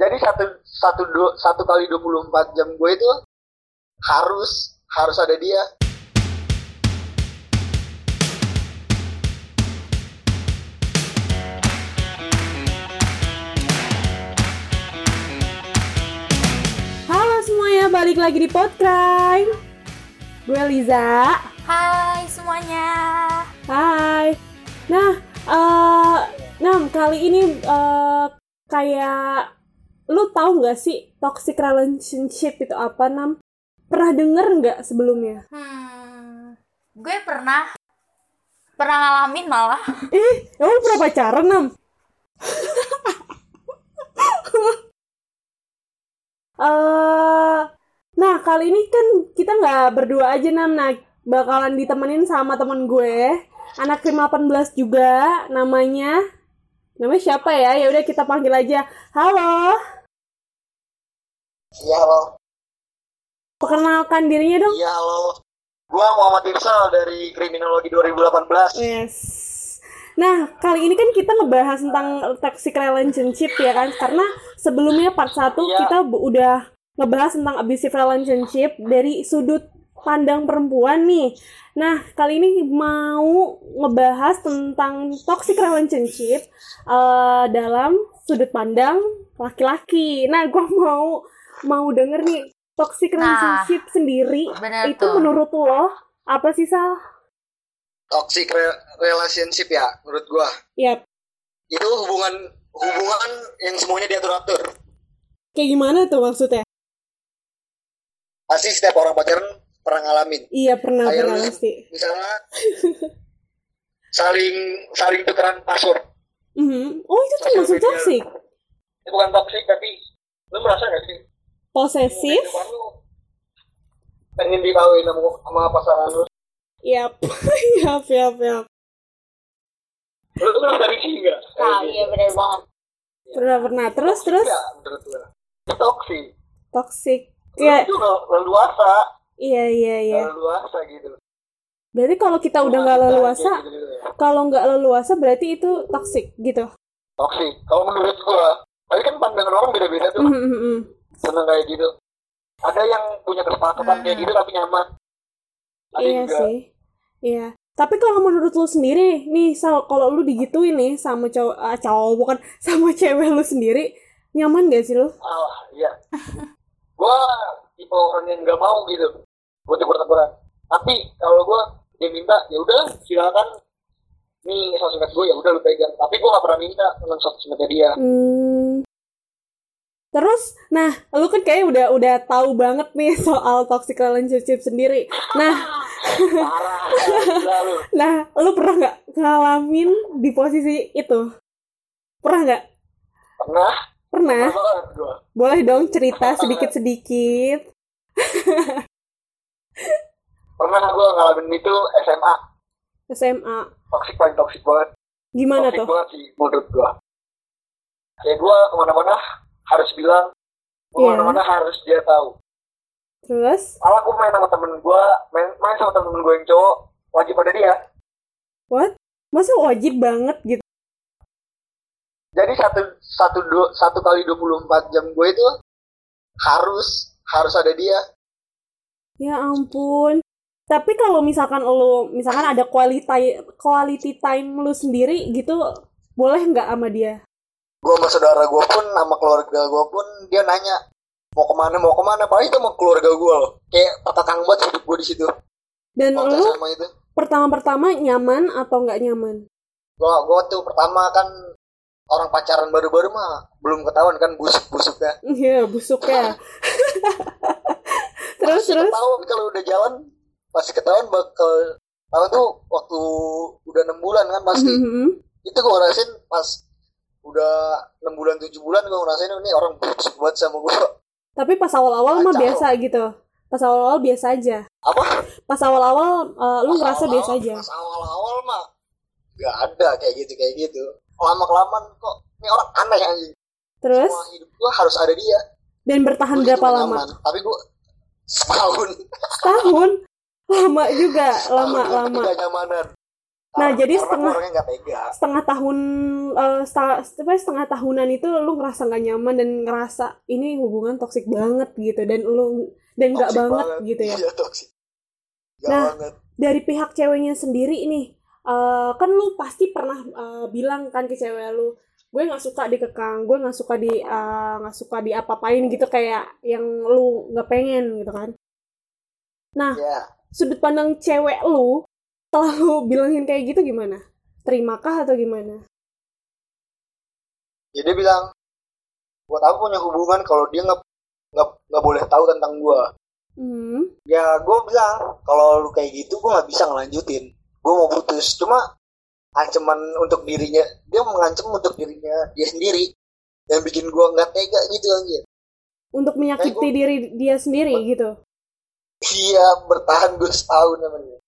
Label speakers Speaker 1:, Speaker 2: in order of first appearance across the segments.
Speaker 1: jadi satu satu du- satu kali 24 jam gue itu harus harus ada dia
Speaker 2: Halo semuanya, balik lagi di Podcrime. Gue Liza.
Speaker 3: Hai semuanya.
Speaker 2: Hai. Nah, eh Nam, kali ini eh, kayak lu tahu nggak sih toxic relationship itu apa, Nam? Pernah denger nggak sebelumnya?
Speaker 3: Hmm, gue pernah pernah ngalamin malah.
Speaker 2: Ih, emang pernah pacaran, Nam? eh nah, kali ini kan kita nggak berdua aja, Nam. Nah, bakalan ditemenin sama temen gue. Anak krim 18 juga, namanya. Namanya siapa ya? Ya udah kita panggil aja. Halo,
Speaker 1: iya halo
Speaker 2: perkenalkan dirinya dong.
Speaker 1: iya halo gue Muhammad Irsal dari Kriminologi
Speaker 2: Hmm.
Speaker 1: 2018
Speaker 2: Yes. Nah, kali ini kan kita ngebahas tentang toxic relationship ya kan? Karena sebelumnya part 1
Speaker 1: Iya.
Speaker 2: kita bu- udah ngebahas tentang abusive relationship dari sudut pandang perempuan nih. Nah, kali ini mau ngebahas tentang toxic relationship eh, dalam sudut pandang laki-laki. Nah, gua mau mau denger nih toxic
Speaker 3: Nah,
Speaker 2: relationship sendiri
Speaker 3: Bener
Speaker 2: itu
Speaker 3: tuh.
Speaker 2: menurut lo apa sih Sal?
Speaker 1: toxic re- relationship ya menurut gue
Speaker 2: Yap.
Speaker 1: itu hubungan hubungan yang semuanya diatur atur
Speaker 2: Kayak gimana tuh maksudnya?
Speaker 1: pasti setiap orang pacaran pernah ngalamin
Speaker 2: Iya pernah
Speaker 1: Ayo,
Speaker 2: pernah
Speaker 1: Lin.
Speaker 2: pasti.
Speaker 1: misalnya saling saling tukeran password
Speaker 2: Mhm. Oh itu termasuk
Speaker 1: Sosial media.
Speaker 2: toxic,
Speaker 1: itu bukan toxic tapi lu merasa gak sih
Speaker 2: posesif.
Speaker 1: Kehidupan lu pengen dikawin sama, sama pasangan lu
Speaker 2: Yap, yap, yap, yap.
Speaker 1: lu tuh kan ngerasa benci gak?
Speaker 3: Nah, iya bener banget.
Speaker 2: Pernah pernah. Terus terus
Speaker 1: Iya, menurut gue itu toxic
Speaker 2: toxic.
Speaker 1: Iya.
Speaker 2: Ya,
Speaker 1: itu lel- leluasa
Speaker 2: iya iya iya.
Speaker 1: leluasa gitu
Speaker 2: Berarti kalau kita udah nggak leluasa, kalau nggak leluasa berarti itu toxic gitu.
Speaker 1: toxic kalau menurut gue tapi kan pandangan orang beda-beda tuh
Speaker 2: Mhm, mhm, mhm.
Speaker 1: seneng kayak gitu ada yang punya kesepakatan kayak gitu tapi nyaman ada
Speaker 2: Ah. Iya
Speaker 1: juga
Speaker 2: sih. Iya. Tapi kalau menurut lu sendiri, nih Sal, kalau lu digituin nih sama cowok, ah, cowok bukan sama cewek lu sendiri, nyaman gak sih lu?
Speaker 1: alah iya gue tipe orang yang nggak mau gitu buat tegur-teguran tapi kalau gue dia minta ya udah silakan nih sosmed gue ya udah lu pegang tapi gue gak pernah minta tentang sosmednya dia
Speaker 2: Hmm. Terus, nah, lu kan kayaknya udah udah tahu banget nih soal toxic relationship sendiri. Nah,
Speaker 1: parah gila lu.
Speaker 2: nah, lu pernah nggak ngalamin di posisi itu? Pernah nggak?
Speaker 1: pernah
Speaker 2: Pernah?
Speaker 1: pernah banget gue
Speaker 2: Boleh dong cerita sedikit-sedikit.
Speaker 1: pernah gue ngalamin itu SMA
Speaker 2: SMA,
Speaker 1: toxic paling toxic banget
Speaker 2: gimana
Speaker 1: toxic
Speaker 2: tuh?
Speaker 1: banget sih menurut gue ya gue kemana-mana harus bilang gua
Speaker 2: Iya.
Speaker 1: kemana-mana harus dia tahu
Speaker 2: Terus,
Speaker 1: malah gue main sama temen gue main, main sama temen gue yang cowok wajib ada dia
Speaker 2: what? Masa wajib banget gitu?
Speaker 1: jadi satu satu du- satu kali 24 jam gue itu harus harus ada dia
Speaker 2: Ya ampun. Tapi kalau misalkan lu, misalkan ada quality quality time lu sendiri gitu, boleh nggak sama dia?
Speaker 1: gue sama saudara gue pun sama keluarga gue pun dia nanya mau kemana mau kemana paling itu mau keluarga gue loh kayak petakang banget hidup gue di situ
Speaker 2: Dan
Speaker 1: waktu
Speaker 2: Iya, lu
Speaker 1: sama itu
Speaker 2: pertama-pertama nyaman atau nggak nyaman?
Speaker 1: gue gue tuh pertama kan orang pacaran baru-baru mah belum ketahuan kan busuk-busuknya
Speaker 2: Iya, busuk ya. terus
Speaker 1: Pasti
Speaker 2: terus.
Speaker 1: ketahuan kalau udah jalan pasti ketahuan bakal tahu tuh waktu udah enam bulan kan pasti
Speaker 2: Mhm.
Speaker 1: itu gue ngerasain pas udah 6 bulan 7 bulan gue ngerasain ini orang busuk banget sama gue
Speaker 2: Tapi pas awal-awal mah
Speaker 1: Kacau.
Speaker 2: biasa gitu. Pas awal-awal biasa aja.
Speaker 1: apa
Speaker 2: Pas awal-awal eh, lu ngerasa
Speaker 1: Awal-awal-
Speaker 2: biasa aja.
Speaker 1: pas awal-awal mah nggak ada kayak gitu kayak gitu lama kelamaan kok ini orang aneh anjing
Speaker 2: Terus
Speaker 1: Semua hidup gue harus ada dia
Speaker 2: dan bertahan
Speaker 1: Gua
Speaker 2: berapa
Speaker 1: cuma
Speaker 2: lama?
Speaker 1: nyaman. tapi gue setahun
Speaker 2: Setahun. Lama juga, lama
Speaker 1: Setahun gua
Speaker 2: lama.
Speaker 1: ketidaknyamanan.
Speaker 2: Nah, jadi
Speaker 1: karena
Speaker 2: setengah-
Speaker 1: gue kan orangnya nggak tega
Speaker 2: setengah tahun eh, seta- setengah, setengah tahunan itu lu ngerasa nggak nyaman dan ngerasa ini hubungan toksik banget gitu dan lu dan nggak
Speaker 1: Toxic
Speaker 2: banget, gitu ya
Speaker 1: iya toxic Nggak
Speaker 2: Nah,
Speaker 1: banget
Speaker 2: dari pihak ceweknya sendiri nih eh, kan lu pasti pernah eh, bilang kan ke cewek lu gue nggak suka dikekang gue nggak suka di eh, nggak suka di apa-apain gitu kayak yang lu nggak pengen gitu kan
Speaker 1: ya
Speaker 2: sudut pandang cewek lu setelah lu bilangin kayak gitu gimana terimakah atau gimana
Speaker 1: jadi Ya, dia bilang buat apa punya hubungan kalau dia nggak nggak nggak boleh tahu tentang gue
Speaker 2: hmm
Speaker 1: ya gue bilang kalau lu kayak gitu gue nggak bisa ngelanjutin gue mau putus cuma ancaman untuk dirinya dia mengancam untuk dirinya dia sendiri yang bikin gue nggak tega gitu anjir
Speaker 2: untuk menyakiti
Speaker 1: Kayak
Speaker 2: diri dia sendiri gitu
Speaker 1: iya bertahan gue setahun namanya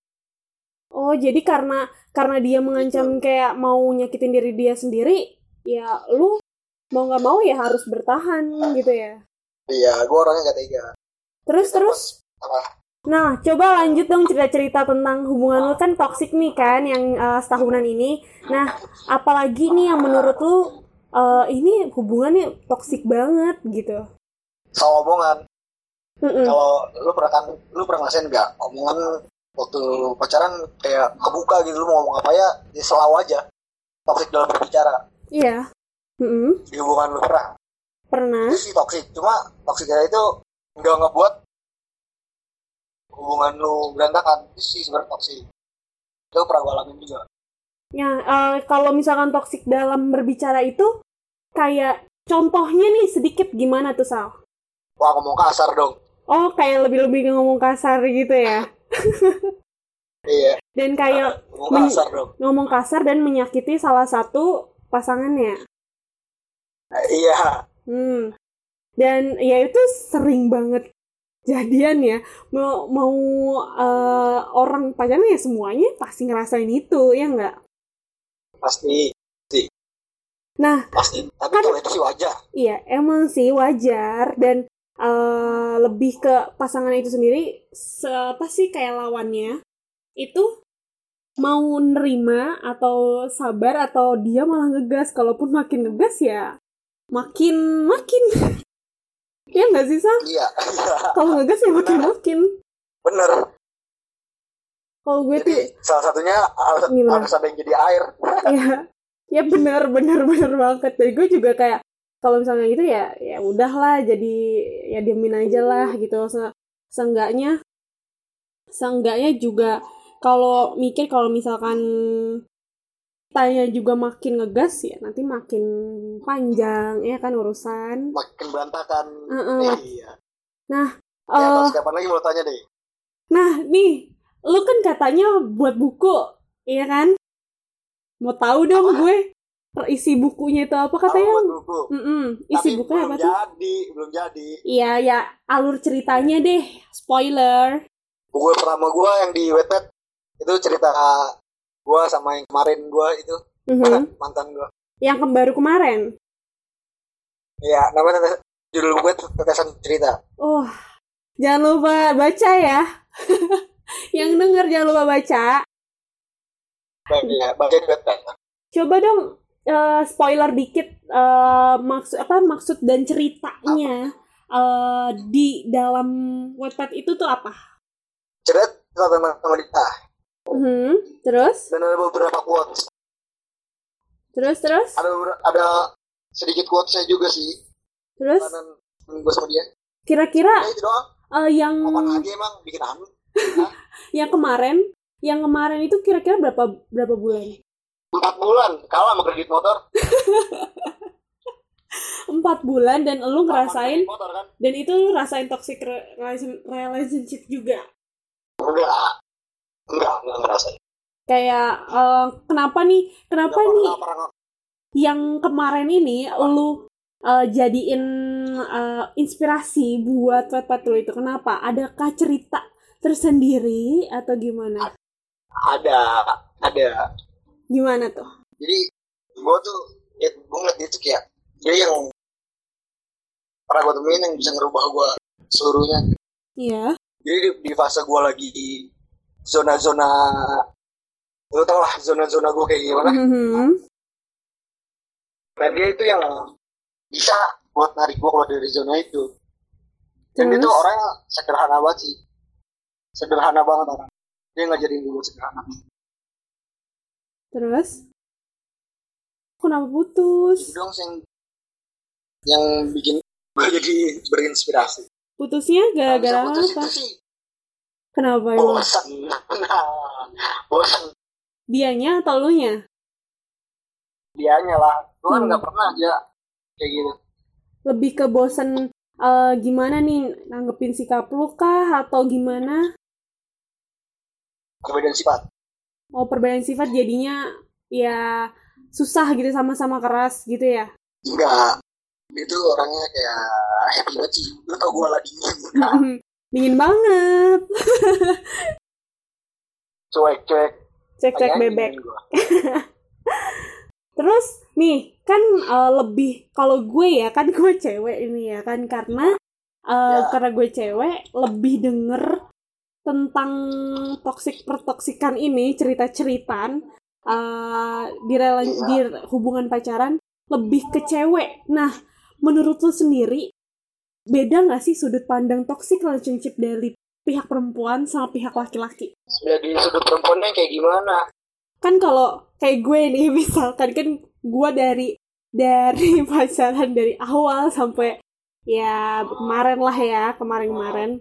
Speaker 2: Oh, jadi karena karena dia mengancam kayak mau nyakitin diri dia sendiri, ya lu mau nggak mau ya harus bertahan gitu ya.
Speaker 1: iya gue orangnya nggak tega
Speaker 2: Terus terus,
Speaker 1: apa
Speaker 2: nah coba lanjut dong cerita-cerita tentang hubungan lu kan toksik nih kan yang eh, setahunan ini. Nah, apalagi nih yang menurut lu eh, ini hubungannya toksik banget gitu.
Speaker 1: soal omongan
Speaker 2: Mm-mm.
Speaker 1: kalau lu pernah kan lu pernah ngerasain nggak omongan waktu lu pacaran kayak kebuka gitu lu mau ngomong apa ya ya selalu aja toksik dalam berbicara
Speaker 2: Iya. Mm-mm.
Speaker 1: di hubungan lu pernah
Speaker 2: Pernah.
Speaker 1: itu sih toksik cuma toksiknya itu nggak ngebuat hubungan lu berantakan itu sih sebenarnya toksik itu pernah gue alamin juga
Speaker 2: Ya, eh, kalau misalkan toksik dalam berbicara itu kayak contohnya nih sedikit gimana tuh Sal?
Speaker 1: wah ngomong kasar dong
Speaker 2: Oh, kayak lebih-lebih ngomong kasar gitu ya.
Speaker 1: iya
Speaker 2: Dan kayak
Speaker 1: ngomong
Speaker 2: Men-
Speaker 1: kasar dong
Speaker 2: ngomong kasar dan menyakiti salah satu pasangannya.
Speaker 1: Eh, iya
Speaker 2: Hmm. Dan ya itu sering banget jadian ya. Mau mau eh, orang pacaran ya semuanya pasti ngerasain itu, ya enggak?
Speaker 1: pasti Pasti.
Speaker 2: Nah.
Speaker 1: pasti tapi
Speaker 2: Kan-
Speaker 1: kalau itu sih wajar
Speaker 2: Iya, emang sih wajar dan eh, lebih ke pasangan itu sendiri se- apa sih kayak lawannya itu mau nerima atau sabar atau dia malah ngegas kalaupun makin ngegas ya makin makin ya nggak sih Sal?
Speaker 1: iya
Speaker 2: kalau ngegas ya makin makin
Speaker 1: bener
Speaker 2: kalau gue tuh
Speaker 1: Jadi salah satunya harus,
Speaker 2: Gimana?
Speaker 1: harus ada yang jadi air.
Speaker 2: ya ya benar benar benar banget dan gue juga kayak kalau misalnya gitu ya ya udahlah jadi ya diemin aja lah gitu Se seenggaknya seenggaknya juga kalau mikir kalau misalkan tanya juga makin ngegas ya nanti makin panjang ya kan urusan
Speaker 1: Makin berantakan.
Speaker 2: Heeh.
Speaker 1: Iya. Ya,
Speaker 2: Eh,
Speaker 1: terus kapan lagi mau tanya deh?
Speaker 2: Nah, nih, lu kan katanya buat buku, iya kan? Mau tahu dong gue isi bukunya itu apa
Speaker 1: Aku
Speaker 2: katanya?
Speaker 1: buat buku.
Speaker 2: Mm-mm,
Speaker 1: Tapi
Speaker 2: isi bukunya
Speaker 1: belum
Speaker 2: apa tuh?
Speaker 1: jadi, belum jadi.
Speaker 2: Iya, ya alur ceritanya deh, spoiler.
Speaker 1: Buku pertama gua yang di Wattpad itu cerita gua sama yang kemarin gua itu
Speaker 2: Mhm.
Speaker 1: mantan gua.
Speaker 2: Yang ke- baru kemarin.
Speaker 1: Iya, namanya tetes- judul bukunya tetesan cerita.
Speaker 2: Oh, jangan lupa baca ya. Yang denger jangan lupa baca.
Speaker 1: Baik, ya, baca di Wattpad.
Speaker 2: Coba dong eh, spoiler dikit eh, maksud apa maksud dan ceritanya eh, di dalam Wattpad itu tuh apa?
Speaker 1: Cerita tentang wanita
Speaker 2: Mhm, Terus,
Speaker 1: dan ada beberapa quotes.
Speaker 2: terus, terus,
Speaker 1: Ada beber- ada sedikit quotesnya juga sih.
Speaker 2: terus.
Speaker 1: Kanan gua sama dia.
Speaker 2: Kira-kira
Speaker 1: Ya, itu doang.
Speaker 2: eh, yang
Speaker 1: Kapan lagi emang bikin anu?
Speaker 2: yang kemarin, yang kemarin itu kira-kira berapa berapa bulan?
Speaker 1: empat bulan kalah sama kredit motor
Speaker 2: Empat bulan dan lu ngerasain
Speaker 1: Kredit motor kan
Speaker 2: dan itu lu rasain toxic re- relation- relationship juga.
Speaker 1: enggak enggak enggak ngerasain
Speaker 2: Kayak eh, kenapa nih? Kenapa
Speaker 1: Enggak
Speaker 2: nih
Speaker 1: pernah, pernah.
Speaker 2: yang kemarin ini lu eh, jadiin eh, inspirasi buat Wattpad lu itu? Kenapa? Adakah cerita tersendiri atau gimana?
Speaker 1: ada ada
Speaker 2: Gimana tuh?
Speaker 1: jadi gue tuh ya, gue ngeliat dia tuh kayak dia yang pernah gue temuin yang bisa ngerubah gue seluruhnya
Speaker 2: Iya.
Speaker 1: jadi di, di fase gue lagi di zona-zona lu tau lah zona-zona gue kayak gimana
Speaker 2: Mhm.
Speaker 1: nah dia itu yang bisa buat narik gue keluar dari zona itu dan dia
Speaker 2: Terus?
Speaker 1: tuh orangnya sederhana banget sih sederhana banget orang dia ngajarin gue sederhana
Speaker 2: Terus? Kenapa putus?
Speaker 1: Itu dong yang yang bikin gue jadi berinspirasi
Speaker 2: Putusnya
Speaker 1: Bisa
Speaker 2: gara-gara
Speaker 1: putus
Speaker 2: apa?
Speaker 1: itu sih
Speaker 2: Kenapa emang?
Speaker 1: bosan bosan
Speaker 2: Dianya atau lu nya?
Speaker 1: dianya lah gue kan
Speaker 2: Hmm.
Speaker 1: nggak pernah aja kayak gitu
Speaker 2: Lebih ke bosen eh, gimana nih? Nanggepin sikap lu kah? Atau gimana?
Speaker 1: perbedaan sifat
Speaker 2: Oh perbedaan sifat jadinya ya susah gitu sama-sama keras gitu ya?
Speaker 1: enggak dia tuh orangnya kayak happy banget sih lu tau gue lagi
Speaker 2: Dingin banget.
Speaker 1: cuek cuek
Speaker 2: Cek-cek
Speaker 1: Kayak
Speaker 2: bebek.
Speaker 1: gini gua.
Speaker 2: Terus nih kan eh, lebih kalau gue ya kan gue cewek ini ya kan karena eh,
Speaker 1: Ya.
Speaker 2: karena gue cewek lebih denger tentang toksik pertoksikan ini cerita ceritan di, rela- di hubungan pacaran lebih ke cewek. Nah menurut lu sendiri beda nggak sih sudut pandang toxic relationship dari pihak perempuan sama pihak laki-laki?
Speaker 1: dari sudut perempuannya kayak gimana
Speaker 2: kan kalau kayak gue nih misalkan kan gue dari dari pacaran dari awal sampai ya kemarin lah ya kemarin-kemarin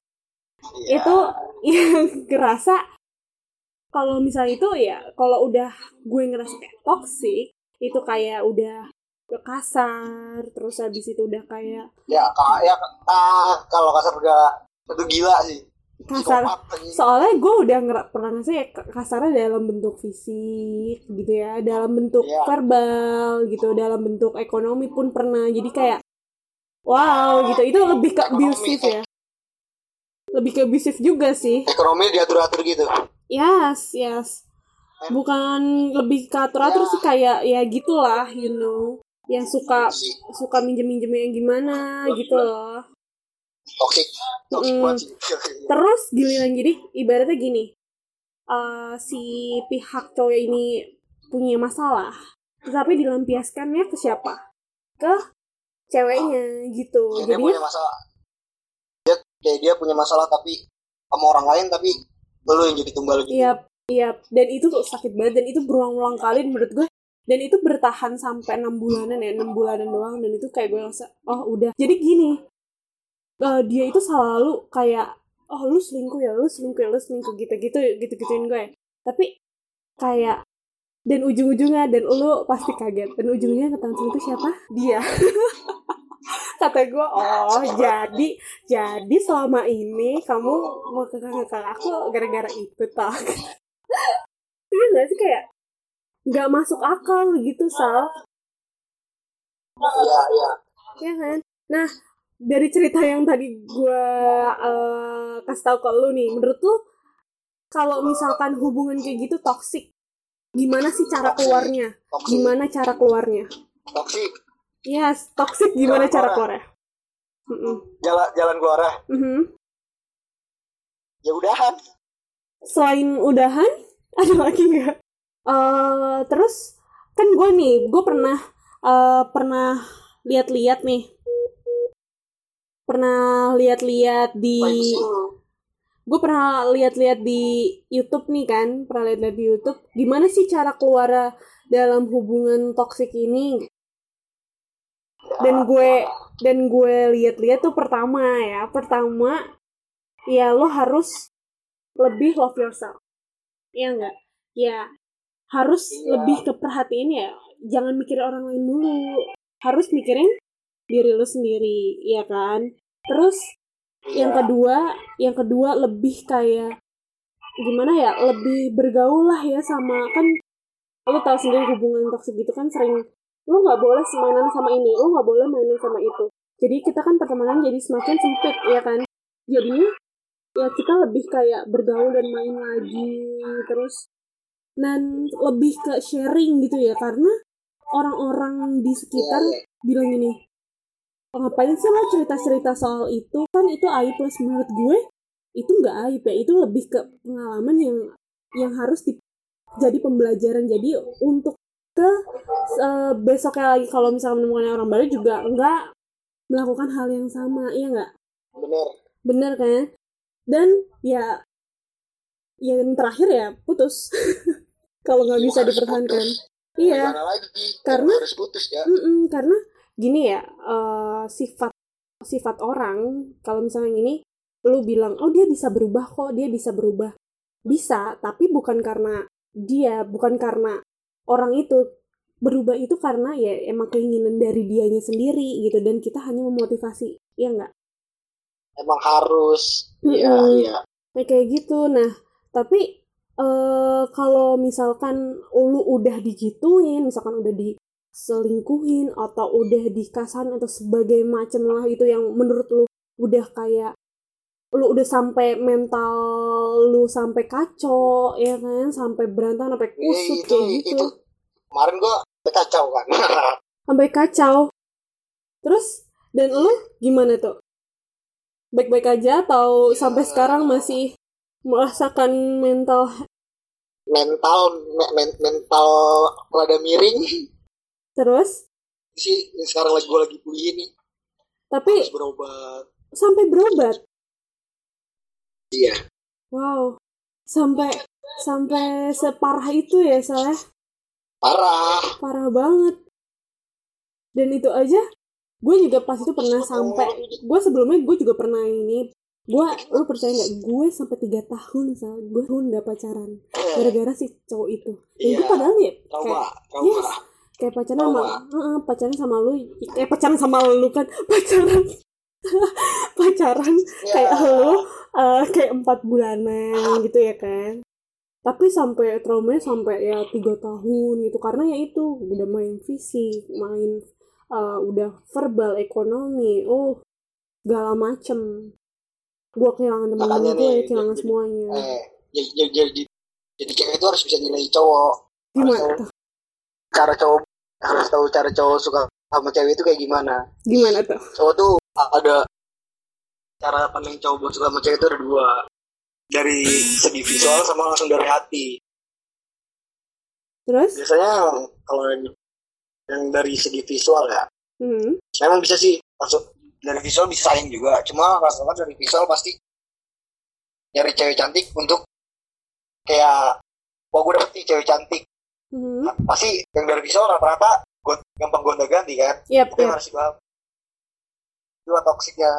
Speaker 1: Iya.
Speaker 2: itu yang ngerasa kalau misalnya itu ya kalau udah gue ngerasa kayak toksik itu kayak udah ke kasar terus habis itu udah kayak
Speaker 1: ya kayak ah, kalau kasar gak itu gila sih
Speaker 2: kasar
Speaker 1: Psikopat lagi.
Speaker 2: soalnya gue udah ngera- pernah ngerasa ya k- kasarnya dalam bentuk fisik gitu ya dalam bentuk
Speaker 1: Iya.
Speaker 2: verbal gitu dalam bentuk ekonomi pun pernah jadi kayak wow gitu itu lebih ke
Speaker 1: Ekonomi,
Speaker 2: abusive ya lebih ke abusive juga sih
Speaker 1: ekonomi diatur atur gitu
Speaker 2: yes yes bukan lebih ke atur atur
Speaker 1: Iya.
Speaker 2: sih kayak ya gitulah you know yang suka
Speaker 1: si
Speaker 2: suka minjem minjemnya yang gimana gitu loh
Speaker 1: toxic toxic
Speaker 2: Mm.
Speaker 1: banget sih
Speaker 2: Terus giliran jadi ibaratnya gini. eh, si pihak cowok ini punya masalah, tetapi dilampiaskannya ke siapa? Ke ceweknya gitu.
Speaker 1: dia punya
Speaker 2: Jadi
Speaker 1: masalah dia kayak dia punya masalah tapi sama orang lain tapi lu yang jadi tumbal gitu
Speaker 2: iya iya dan itu tuh sakit banget dan itu berulang-ulang kali menurut gue dan itu bertahan sampai enam bulanan ya enam bulanan doang dan itu kayak gue rasa oh udah jadi gini eh, dia itu selalu kayak oh lu selingkuh ya lu selingkuh ya lu selingkuh gitu gitu gitu gituin gue tapi kayak dan ujung-ujungnya dan lu pasti kaget dan ujungnya yang ketahuan selingkuh siapa dia kata gue oh jadi jadi selama ini kamu mau ke kakak aku gara-gara itu toh Iya gak sih kayak nggak masuk akal gitu Sal
Speaker 1: iya iya
Speaker 2: ya kan nah dari cerita yang tadi gue kasih tahu ke lu nih menurut lu kalau misalkan hubungan kayak gitu toksik gimana sih cara keluarnya
Speaker 1: toxic
Speaker 2: gimana cara keluarnya
Speaker 1: toxic
Speaker 2: yes toksik gimana cara keluarnya Mm-mm.
Speaker 1: jalan jalan keluar ah.
Speaker 2: Mhm.
Speaker 1: ya udahan
Speaker 2: selain udahan ada lagi nggak? Eh, terus kan gue nih, gue pernah eh, pernah lihat-lihat nih, pernah lihat-lihat di,
Speaker 1: Privacy.
Speaker 2: gue pernah lihat-lihat di YouTube nih kan, pernah lihat-lihat di YouTube, gimana sih cara keluar dalam hubungan toksik ini? Dan gue dan gue lihat-lihat tuh pertama ya, pertama ya lo harus lebih love yourself Iya enggak ya harus
Speaker 1: Iya.
Speaker 2: lebih ke perhatiin ya jangan mikirin orang lain dulu harus mikirin diri lo sendiri ya kan terus
Speaker 1: Iya.
Speaker 2: yang kedua yang kedua lebih kayak gimana ya lebih bergaul lah ya sama kan lo tahu sendiri hubungan toksik gitu kan sering lo nggak boleh mainan sama ini lo nggak boleh mainan sama itu jadi kita kan pertemanan jadi semakin sempit ya kan jadinya ya kita lebih kayak bergaul dan main lagi terus dan lebih ke sharing gitu ya karena orang-orang di
Speaker 1: Iya,
Speaker 2: sekitar bilang gini "Oh, ngapain sih lo cerita-cerita soal itu kan itu aib plus menurut gue itu nggak aib ya itu lebih ke pengalaman yang yang harus di jadi pembelajaran jadi untuk ke eh, besoknya lagi kalau misalnya menemukan orang baru juga enggak melakukan hal yang sama iya enggak
Speaker 1: bener
Speaker 2: bener kan dan ya yang terakhir ya putus kalau nggak bisa
Speaker 1: Harus
Speaker 2: dipertahankan
Speaker 1: putus.
Speaker 2: iya
Speaker 1: Gimana lagi
Speaker 2: Karena- Mm.
Speaker 1: harus putus ya
Speaker 2: Mm-mm, karena gini ya eh, sifat sifat orang kalau misalnya gini lu bilang oh dia bisa berubah kok dia bisa berubah bisa tapi bukan karena dia bukan karena orang itu berubah itu karena ya emang keinginan dari dianya sendiri gitu dan kita hanya memotivasi ya nggak
Speaker 1: emang harus iya
Speaker 2: Mm-mm.
Speaker 1: iya
Speaker 2: Nah, kayak gitu. Nah, tapi eh kalau misalkan lu udah digituin, misalkan udah diselingkuhin atau udah dikasan atau sebagai macam lah itu yang menurut lu udah kayak lu udah sampai mental lu sampai kacau ya kan sampai berantem
Speaker 1: Iya,
Speaker 2: sampai kusut
Speaker 1: itu
Speaker 2: kayak gitu
Speaker 1: itu kemarin gua kacau kan
Speaker 2: sampai kacau terus dan lu gimana tuh baik-baik aja atau sampai
Speaker 1: Iya.
Speaker 2: sekarang masih merasakan mental
Speaker 1: mental me- men- mental rada miring
Speaker 2: Terus,
Speaker 1: sih yang sekarang lagi gua lagi pulih nih
Speaker 2: tapi
Speaker 1: harus berobat
Speaker 2: sampai berobat.
Speaker 1: iya
Speaker 2: Wow. Sampai sampai separah itu ya, saya
Speaker 1: parah
Speaker 2: parah banget. Dan itu aja gue juga pas itu pernah sampai gue sebelumnya gue juga pernah ini gue lu percaya nggak gue sampai tiga tahun sal gue tahun nggak pacaran
Speaker 1: Eh,
Speaker 2: gara-gara si cowok itu dan itu
Speaker 1: iya
Speaker 2: padahal ya kayak iya,
Speaker 1: trauma trauma
Speaker 2: Yes. kayak pacaran sama
Speaker 1: Trauma.
Speaker 2: Heeh, pacaran sama lu kayak pacaran sama lu kan pacaran pacaran kayak
Speaker 1: Ya.
Speaker 2: lu eh, kayak empat bulanan gitu ya kan tapi sampai traumanya sampai ya tiga tahun gitu karena ya itu udah main fisik main eh, udah verbal ekonomi oh segala macem gua kehilangan teman-teman
Speaker 1: Makanya
Speaker 2: gue
Speaker 1: nih,
Speaker 2: kehilangan
Speaker 1: jadi-
Speaker 2: semuanya
Speaker 1: eh jadi jadi jadi, jadi cewek itu harus bisa nilai cowok
Speaker 2: gimana
Speaker 1: harus-
Speaker 2: tuh
Speaker 1: cara cowok harus tahu cara cowok suka sama cewek itu kayak gimana
Speaker 2: gimana tuh
Speaker 1: cowok tuh ada cara pandang cowok buat suka sama cewek itu ada dua dari segi visual sama langsung dari hati
Speaker 2: terus
Speaker 1: biasanya kalau yang, yang dari segi visual ya
Speaker 2: hmm.
Speaker 1: emang bisa sih langsung dari visual bisa sayang juga cuma rasa-rasa dari visual pasti nyari cewek cantik untuk kayak wah gue dapet nih cewek cantik
Speaker 2: Hmm.
Speaker 1: pasti yang dari visual rata-rata gon- gampang gonta ganti kan
Speaker 2: Yap,
Speaker 1: Tapi
Speaker 2: yap.
Speaker 1: harus dipahami. Itulah toksiknya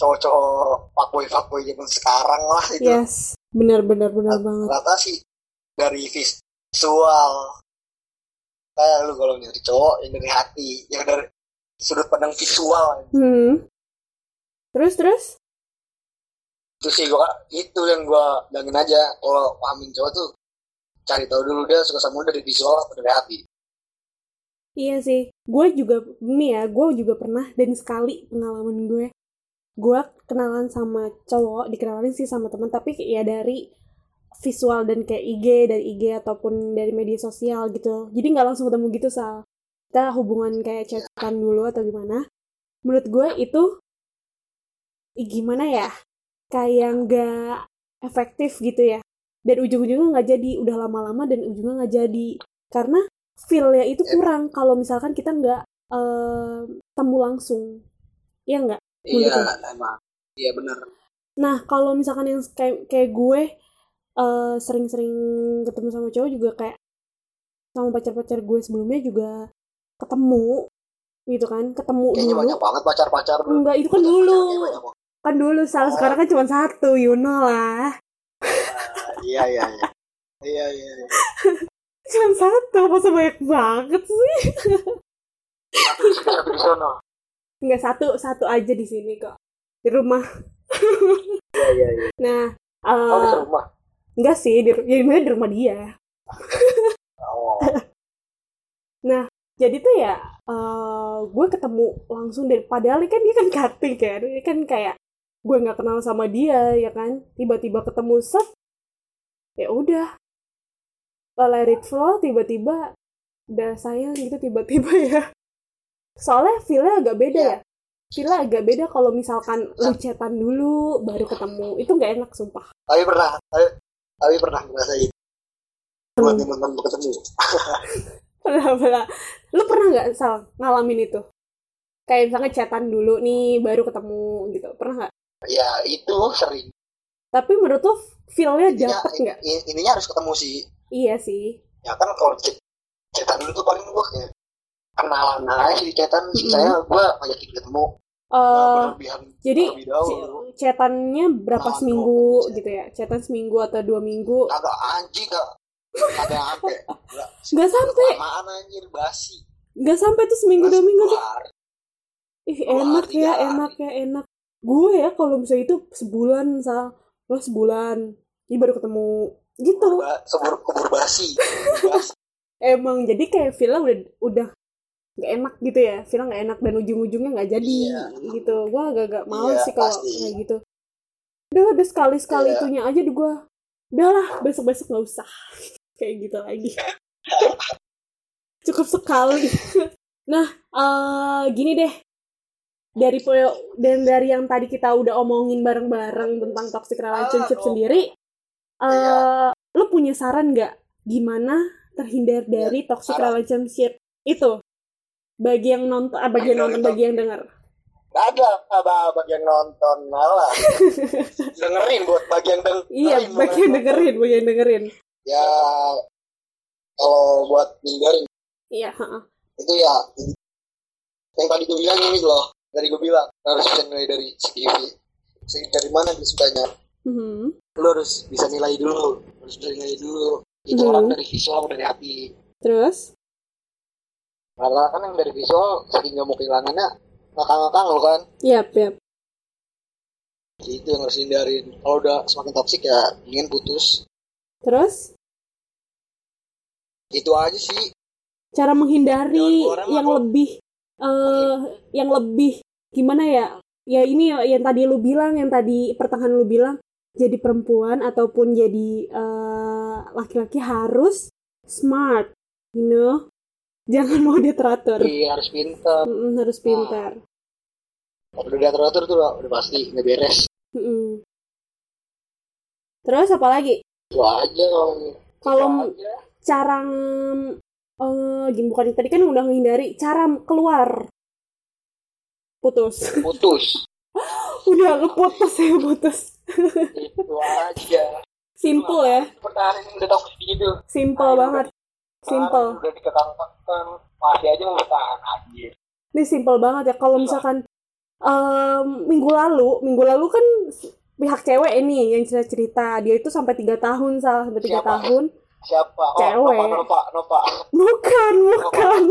Speaker 1: cowok-cowok fuckboy fuckboy zaman sekarang lah itu.
Speaker 2: Yes, benar benar benar banget.
Speaker 1: Rata sih dari visual. Eh lu kalau nyari cowok yang dari hati, yang dari sudut pandang visual
Speaker 2: Hmm. Terus terus?
Speaker 1: itu sih gua itu yang gua bilangin aja kalau pahamin cowok tuh cari tahu dulu dia suka sama lu dari visual atau dari hati
Speaker 2: Iya sih. Gue juga ini ya, gue juga pernah dan sekali pengalaman gue. Gue kenalan sama cowok, dikenalin sih sama teman, tapi ya dari visual dan kayak IG dari IG ataupun dari media sosial gitu. Jadi nggak langsung ketemu gitu sal. Kita hubungan kayak chatan dulu atau gimana. Menurut gue itu ih, gimana ya? Kayak nggak efektif gitu ya. Dan ujung-ujungnya nggak jadi, udah lama-lama dan ujungnya nggak jadi. Karena feel-nya itu
Speaker 1: Iya.
Speaker 2: kurang kalau misalkan kita nggak eh, temu langsung. Iya nggak? Iya,
Speaker 1: emang iya benar
Speaker 2: Nah, kalau misalkan yang kayak, kayak gue eh, sering-sering ketemu sama cowok juga kayak sama pacar-pacar gue sebelumnya juga ketemu gitu kan, ketemu
Speaker 1: kayaknya
Speaker 2: dulu.
Speaker 1: banyak banget pacar-pacar lu.
Speaker 2: Enggak, itu kan dulu.
Speaker 1: Pacar-pacar kayaknya banyak Oh.
Speaker 2: Kan dulu, Sal. Sekarang kan cuma satu, you know
Speaker 1: banget.
Speaker 2: lah.
Speaker 1: iya iya iya iya iya
Speaker 2: Cuma satu, masa banyak banget sih?
Speaker 1: satu di sini satu di sono
Speaker 2: Enggak, satu, satu aja di sini kok. Di rumah.
Speaker 1: iya iya iya
Speaker 2: Nah,
Speaker 1: oh di
Speaker 2: eh
Speaker 1: rumah
Speaker 2: enggak sih, di, ya, di rumah dia.
Speaker 1: oh
Speaker 2: jadi tuh ya eh, gue ketemu langsung dari padahal kan dia kan cutting kan dia kan kayak gue nggak kenal sama dia ya kan tiba-tiba ketemu set ya udah let it flow tiba-tiba udah sayang gitu tiba-tiba ya soalnya feel-nya agak beda ya feel-nya agak beda kalau misalkan lu chatan dulu baru ketemu itu nggak enak sumpah
Speaker 1: tapi pernah tapi, tapi pernah ngerasain
Speaker 2: Hmm.
Speaker 1: buat yang mantan ketemu
Speaker 2: pernah pernah lu pernah nggak sal ngalamin itu kayak misalnya chatan dulu nih baru ketemu gitu pernah nggak
Speaker 1: ya itu sering
Speaker 2: tapi menurut lu feelnya
Speaker 1: Intinya-
Speaker 2: dapet nggak
Speaker 1: in- intinya harus ketemu sih
Speaker 2: iya sih
Speaker 1: ya kan kalau chat chatan dulu tuh paling gue kayak kenalan aja di chatan
Speaker 2: Mm-mm.
Speaker 1: saya gue ngajakin ketemu Nah,
Speaker 2: Eh
Speaker 1: berlebihan
Speaker 2: jadi
Speaker 1: terlebih dahulu
Speaker 2: ce- chatannya berapa
Speaker 1: Nah,
Speaker 2: seminggu
Speaker 1: kalau- Nah,
Speaker 2: gitu ya chatan seminggu atau dua minggu
Speaker 1: agak anjing gak agak apa
Speaker 2: nggak sampai
Speaker 1: lamaan anjir basi
Speaker 2: nggak sampai tuh seminggu dua
Speaker 1: Basi
Speaker 2: minggu tuh
Speaker 1: keluar.
Speaker 2: ih
Speaker 1: dua Nah,
Speaker 2: enak
Speaker 1: hari,
Speaker 2: ya
Speaker 1: tiga
Speaker 2: enak ya enak gue ya kalau misalnya itu sebulan sal lo sebulan ini baru ketemu gitu
Speaker 1: Ba- kubur kubur basi basi
Speaker 2: emang jadi kayak Villa udah udah nggak enak gitu ya Villa nggak enak dan ujung-ujungnya nggak jadi
Speaker 1: Iya.
Speaker 2: gitu gue agak-agak
Speaker 1: Iya,
Speaker 2: males sih kalau
Speaker 1: pasti.
Speaker 2: kayak gitu udah udah sekali sekali
Speaker 1: Iya.
Speaker 2: itunya aja deh gue udahlah besok besok nggak usah kayak gitu lagi cukup sekali nah eh gini deh dari po- dan dari yang tadi kita udah omongin bareng-bareng tentang toxic
Speaker 1: Ah,
Speaker 2: relationship
Speaker 1: oh.
Speaker 2: sendiri
Speaker 1: Iya.
Speaker 2: eh lu punya saran nggak gimana terhindar dari toxic
Speaker 1: saran.
Speaker 2: relationship itu bagi yang nonton ah, bagi yang nonton bagi yang dengar
Speaker 1: Gak ada apa bagian nonton malah dengerin buat bagian dengerin
Speaker 2: iya
Speaker 1: bukan
Speaker 2: bagi yang dengerin bagi yang dengerin
Speaker 1: ya kalau buat ninggalin
Speaker 2: iya ha-ha.
Speaker 1: itu ya yang tadi gue bilang ini loh dari gue bilang harus bisa nilai dari segi segi dari mana dia sukanya
Speaker 2: Mhm.
Speaker 1: lu harus bisa nilai dulu harus bisa nilai dulu itu
Speaker 2: Hmm.
Speaker 1: orang dari visual dari hati
Speaker 2: terus
Speaker 1: karena kan yang dari visual saking gak mau kehilangannya ngakang-ngakang lo kan
Speaker 2: yap yap
Speaker 1: Jadi itu yang harus hindarin kalau udah semakin toksik ya ingin putus
Speaker 2: terus
Speaker 1: itu aja sih
Speaker 2: cara menghindari
Speaker 1: Jangan keluar emang,
Speaker 2: yang
Speaker 1: Bang.
Speaker 2: lebih eh yang lebih gimana ya ya ini yang tadi lu bilang yang tadi pertengahan lu bilang jadi perempuan ataupun jadi eh, laki-laki harus smart you know jangan mau dia teratur
Speaker 1: Iya, Nah. harus pinter
Speaker 2: Mm-mm, harus pintar
Speaker 1: Kalau udah teratur tuh udah, udah pasti nggak beres
Speaker 2: Mm-mm. terus apa lagi
Speaker 1: itu aja kalau
Speaker 2: Kalau-
Speaker 1: Itu aja.
Speaker 2: cara eh gini bukan tadi kan udah menghindari cara keluar putus
Speaker 1: putus
Speaker 2: udah lu putus ya putus
Speaker 1: itu aja
Speaker 2: simple ya
Speaker 1: pertahanan udah toksik gitu
Speaker 2: simple banget simple
Speaker 1: udah dikekang-kekang masih aja mau bertahan anjir
Speaker 2: ini simple banget ya kalau misalkan em, minggu lalu minggu lalu kan pihak cewek ini yang cerita cerita dia itu sampai tiga tahun salah sampai tiga
Speaker 1: Siapa?
Speaker 2: tahun
Speaker 1: siapa oh
Speaker 2: Cewek.
Speaker 1: Nova Nova Nova
Speaker 2: bukan bukan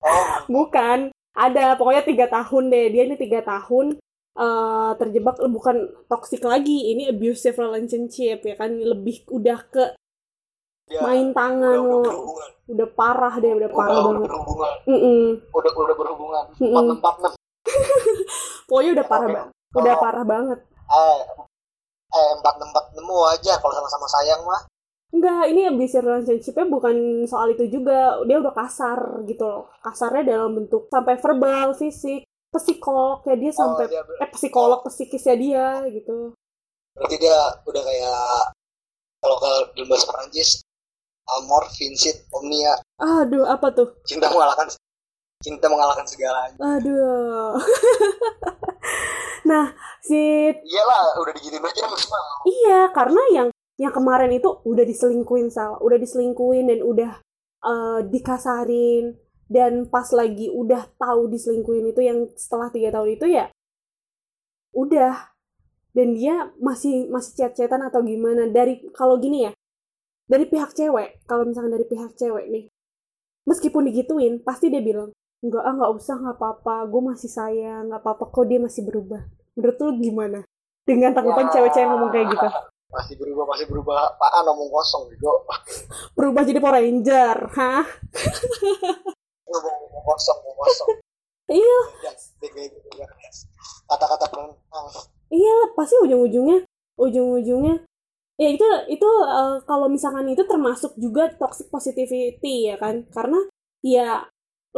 Speaker 1: oh
Speaker 2: bukan ada pokoknya tiga tahun deh dia ini tiga tahun eh, terjebak eh, bukan toxic lagi ini abusive relationship ya kan lebih udah ke
Speaker 1: ya,
Speaker 2: main tangan
Speaker 1: udah, udah
Speaker 2: lo.
Speaker 1: berhubungan
Speaker 2: udah parah deh udah
Speaker 1: udah,
Speaker 2: parah
Speaker 1: udah
Speaker 2: banget
Speaker 1: berhubungan
Speaker 2: Mm-mm.
Speaker 1: udah udah berhubungan
Speaker 2: Mm-mm.
Speaker 1: empat empat enam
Speaker 2: pokoknya udah parah
Speaker 1: Iya, Oke. Oh.
Speaker 2: banget udah
Speaker 1: Kalau-
Speaker 2: parah banget
Speaker 1: eh eh empat empat nemu aja kalau sama-sama sayang mah
Speaker 2: Enggak, ini abusive relationship-nya bukan soal itu juga. Dia udah kasar gitu loh. Kasarnya dalam bentuk sampai verbal, fisik, psikolog ya dia
Speaker 1: oh,
Speaker 2: sampai
Speaker 1: dia ber-
Speaker 2: eh psikolog psikisnya dia gitu.
Speaker 1: berarti dia udah kayak kalau ke dalam bahasa Perancis amor vincit omnia
Speaker 2: Aduh, apa tuh?
Speaker 1: cinta mengalahkan cinta mengalahkan segalanya
Speaker 2: Aduh. nah, si
Speaker 1: iyalah udah digituin aja maksimal
Speaker 2: Iya, karena yang yang kemarin itu udah diselingkuin Sal, udah diselingkuin dan udah eh, dikasarin dan pas lagi udah tahu diselingkuin itu yang setelah tiga tahun itu ya udah dan dia masih masih chat-chatan atau gimana dari kalau gini ya dari pihak cewek kalau misalkan dari pihak cewek nih meskipun digituin pasti dia bilang enggak ah nggak usah nggak apa-apa gue masih sayang nggak apa-apa kok dia masih berubah menurut lu gimana dengan tanggapan
Speaker 1: Ya.
Speaker 2: cewek-cewek yang ngomong kayak gitu
Speaker 1: masih berubah masih berubah apaan ngomong kosong bego
Speaker 2: berubah jadi Power Ranger, hah?
Speaker 1: ngomong ngomong kosong ngomong kosong
Speaker 2: Iya,
Speaker 1: Gas, dia kayak gitu, gas. kata-kata penentang
Speaker 2: iya pasti ujung-ujungnya, ujung-ujungnya ya itu itu eh, kalau misalkan itu termasuk juga toxic positivity ya kan? Karena ya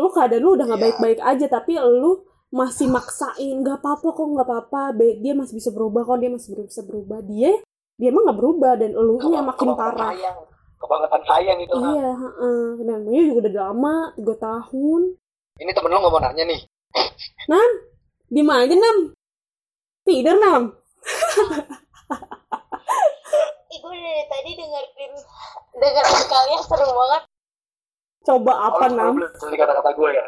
Speaker 2: lu keadaan lu udah nggak
Speaker 1: Iya.
Speaker 2: baik-baik aja tapi lu masih maksain nggak apa-apa kok nggak apa-apa be- dia masih bisa berubah kok dia masih ber- bisa berubah dia dia emang nggak berubah dan elunya
Speaker 1: Kalau-
Speaker 2: Iya, makin
Speaker 1: kalau
Speaker 2: parah
Speaker 1: sayang kebangetan sayang gitu kan.
Speaker 2: Iya, heeh. Dan namanya juga udah lama, 3 tahun.
Speaker 1: Ini temen lu nggak mau nanya nih.
Speaker 2: Nam, di mana Nam? Tidur Nam.
Speaker 3: Ih, gue dari tadi dengerin dengerin kalian seru banget.
Speaker 2: Coba apa
Speaker 1: Kalau
Speaker 2: Nam?
Speaker 1: lu belum beli kata-kata gue ya.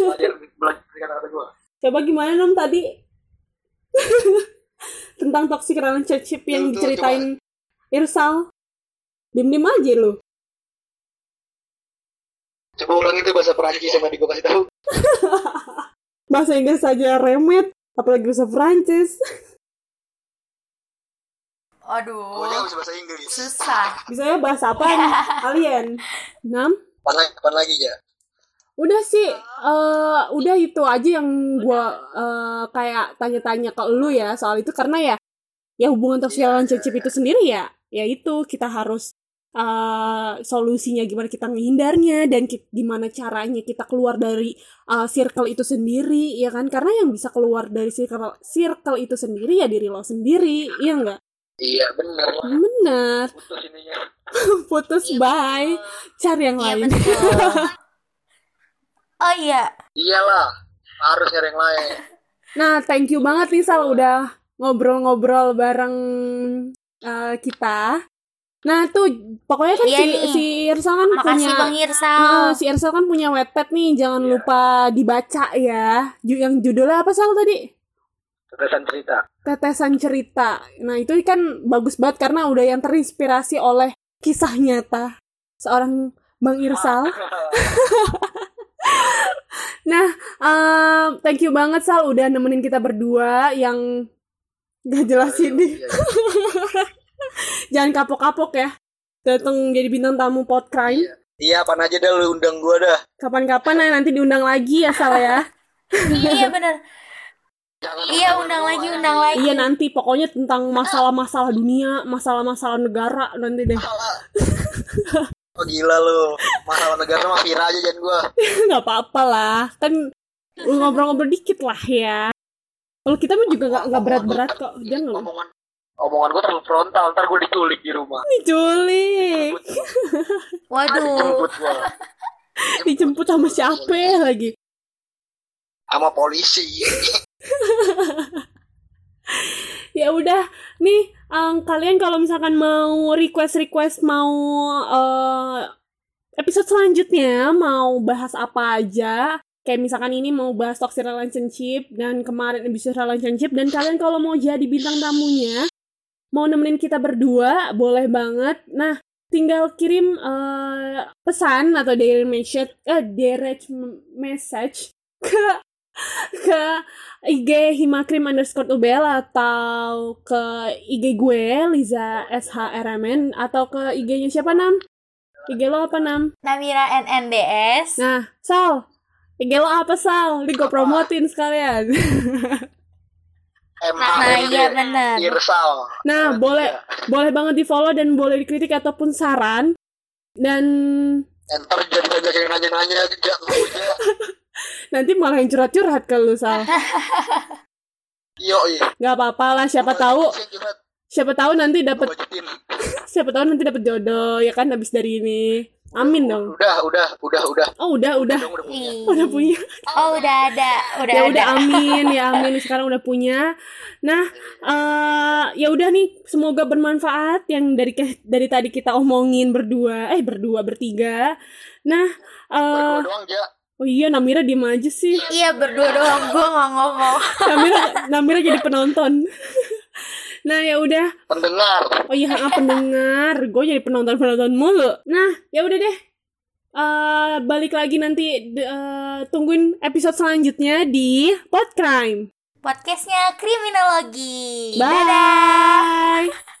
Speaker 1: Belajar belajar dari kata-kata gue.
Speaker 2: Coba gimana Nam tadi? Tentang toxic relationship yang
Speaker 1: Coba-
Speaker 2: diceritain Irsal. Diem-diem aja lu.
Speaker 1: Coba ulang itu bahasa Perancis sama di gue kasih tahu.
Speaker 2: Bahasa Inggris aja remet, apalagi bahasa Prancis.
Speaker 1: Gue
Speaker 2: Oh.
Speaker 3: Aduh,
Speaker 1: harus bahasa Inggris.
Speaker 3: susah.
Speaker 2: Bisanya ya bahasa apa nih? Kalian? Nam?
Speaker 1: Kapan lagi, kapan lagi ya?
Speaker 2: Udah sih, eh udah itu aja yang gua eh, kayak tanya-tanya ke lu ya soal itu karena ya ya hubungan toxic
Speaker 1: Iya,
Speaker 2: relationship itu sendiri ya, ya itu kita harus eh solusinya gimana kita menghindarnya dan ki- gimana caranya kita keluar dari eh, circle itu sendiri ya kan karena yang bisa keluar dari circle circle itu sendiri ya diri lo sendiri iya enggak
Speaker 1: Iya benar.
Speaker 2: benar
Speaker 1: Putus ininya.
Speaker 2: putus bye cari yang
Speaker 3: Iya
Speaker 2: lain
Speaker 3: betul. Oh iya,
Speaker 1: Iyalah. Harus nyari yang lain.
Speaker 2: Nah, thank you banget nih Sal udah ngobrol-ngobrol bareng eh, kita. Nah, tuh pokoknya kan
Speaker 3: Iya
Speaker 2: si
Speaker 3: nih.
Speaker 2: si Irsal kan
Speaker 3: makasih
Speaker 2: punya
Speaker 3: Bang
Speaker 2: Ah,
Speaker 3: Irsal.
Speaker 2: si Irsal kan punya webpad nih, jangan
Speaker 3: Iya.
Speaker 2: lupa dibaca ya. Ju- Yang judulnya apa Sal tadi?
Speaker 1: Tetesan cerita.
Speaker 2: Tetesan cerita. Nah, itu kan bagus banget karena udah yang terinspirasi oleh kisah nyata seorang Bang Irsal.
Speaker 3: Oh.
Speaker 2: Nah, em, thank you banget Sal udah nemenin kita berdua yang gak jelas ini.
Speaker 1: Iya, iya.
Speaker 2: Jangan kapok-kapok ya. Datang jadi bintang tamu pot crime.
Speaker 1: Iya, apaan aja dah lu undang gue dah.
Speaker 2: Kapan-kapan nah, nanti diundang lagi ya Sal ya.
Speaker 3: Iya bener.
Speaker 1: Jangan
Speaker 3: Iya undang lagi, undang lagi.
Speaker 2: iya nanti pokoknya tentang masalah-masalah dunia, masalah-masalah negara nanti deh.
Speaker 1: Oh gila lu. Masalah negara mah Vira aja jangan gue.
Speaker 2: nggak apa-apa lah. Kan lu ngobrol-ngobrol dikit lah ya. Kalau kita mah juga Gitu nggak nggak berat-berat kok. Jangan
Speaker 1: Omongan omongan gue terlalu frontal, ntar gue diculik di rumah.
Speaker 2: diculik. Iya.
Speaker 3: Waduh.
Speaker 1: Dijemput gue.
Speaker 2: Dijemput sama siapa lagi?
Speaker 1: Sama polisi.
Speaker 2: ya udah nih em, kalian kalau misalkan mau request request mau eh, episode selanjutnya mau bahas apa aja kayak misalkan ini mau bahas toxic relationship dan kemarin episode relationship dan kalian kalau mau jadi bintang tamunya mau nemenin kita berdua boleh banget nah tinggal kirim eh, pesan atau direct message eh, direct message ke ke IG Himakrim underscore UBL atau ke IG gue Liza SHRMN atau ke IG-nya siapa Nam? IG lo apa Nam?
Speaker 3: Namira NNDS.
Speaker 2: Nah, Sal. IG lo apa Sal? Ini gue
Speaker 1: Apa?
Speaker 2: promotin sekalian.
Speaker 1: MA.
Speaker 3: Nah iya bener.
Speaker 1: Irsal.
Speaker 2: Nah, boleh boleh banget di follow dan boleh dikritik ataupun saran. Dan
Speaker 1: Enter jadi banyak yang nanya-nanya juga.
Speaker 2: nanti malah yang curhat-curhat ke lu Sal.
Speaker 1: Yo iya.
Speaker 2: Gak apa-apa lah, siapa tahu siapa tahu nanti dapat siapa tahu nanti dapat jodoh ya kan habis dari ini. Amin dong.
Speaker 1: Udah, udah, udah, udah.
Speaker 2: Oh, udah udah.
Speaker 1: Dong, udah punya.
Speaker 3: Ih.
Speaker 2: Udah punya.
Speaker 3: Oh udah ada, udah
Speaker 2: ya
Speaker 3: ada.
Speaker 2: udah amin ya amin sekarang udah punya nah eh ya udah nih semoga bermanfaat yang dari ke- dari tadi kita omongin berdua eh berdua bertiga nah
Speaker 1: Baru
Speaker 2: eh
Speaker 1: gua doang ja.
Speaker 2: oh iya Namira diem aja sih
Speaker 3: Iya berdua doang, gue nggak ngomong.
Speaker 2: Namira Namira jadi penonton nah ya udah
Speaker 1: Pendengar.
Speaker 2: Oh iya, ah, pendengar. Gue jadi penonton-penonton mulu. Nah, ya udah deh. Eh, balik lagi nanti de- eh, tungguin episode selanjutnya di Podcrime.
Speaker 3: Podcastnya kriminologi.
Speaker 2: Bye.
Speaker 3: Dadah.